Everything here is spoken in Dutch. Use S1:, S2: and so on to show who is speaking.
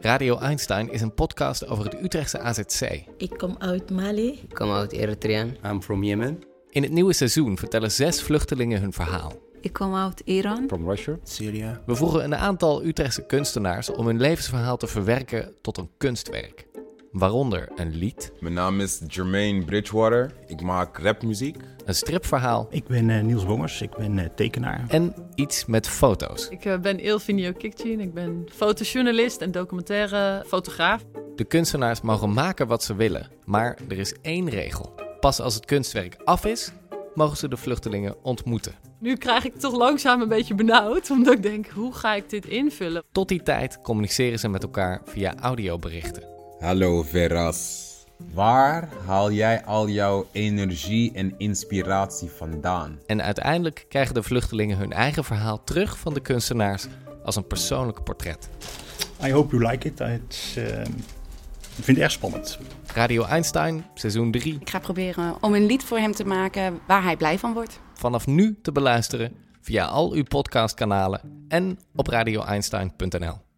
S1: Radio Einstein is een podcast over het Utrechtse AZC.
S2: Ik kom uit Mali.
S3: Ik kom uit Eritrea.
S4: I'm from Yemen.
S1: In het nieuwe seizoen vertellen zes vluchtelingen hun verhaal.
S5: Ik kom uit Iran.
S6: From Russia.
S7: Syria.
S1: We vroegen een aantal Utrechtse kunstenaars om hun levensverhaal te verwerken tot een kunstwerk. Waaronder een lied,
S8: Mijn naam is Jermaine Bridgewater. Ik maak rapmuziek.
S1: een stripverhaal
S7: Ik ben eh, Niels Wongers, ik ben eh, tekenaar.
S1: en iets met foto's.
S9: Ik eh, ben Ilvinio Kikchin. Ik ben fotojournalist en documentaire fotograaf.
S1: De kunstenaars mogen maken wat ze willen, maar er is één regel. Pas als het kunstwerk af is, mogen ze de vluchtelingen ontmoeten.
S9: Nu krijg ik toch langzaam een beetje benauwd, omdat ik denk, hoe ga ik dit invullen?
S1: Tot die tijd communiceren ze met elkaar via audioberichten.
S8: Hallo Veras. Waar haal jij al jouw energie en inspiratie vandaan?
S1: En uiteindelijk krijgen de vluchtelingen hun eigen verhaal terug van de kunstenaars als een persoonlijk portret.
S7: I hope you like it. Het, eh, ik vind het erg spannend.
S1: Radio Einstein, seizoen 3,
S5: Ik ga proberen om een lied voor hem te maken waar hij blij van wordt.
S1: vanaf nu te beluisteren via al uw podcastkanalen en op radioeinstein.nl.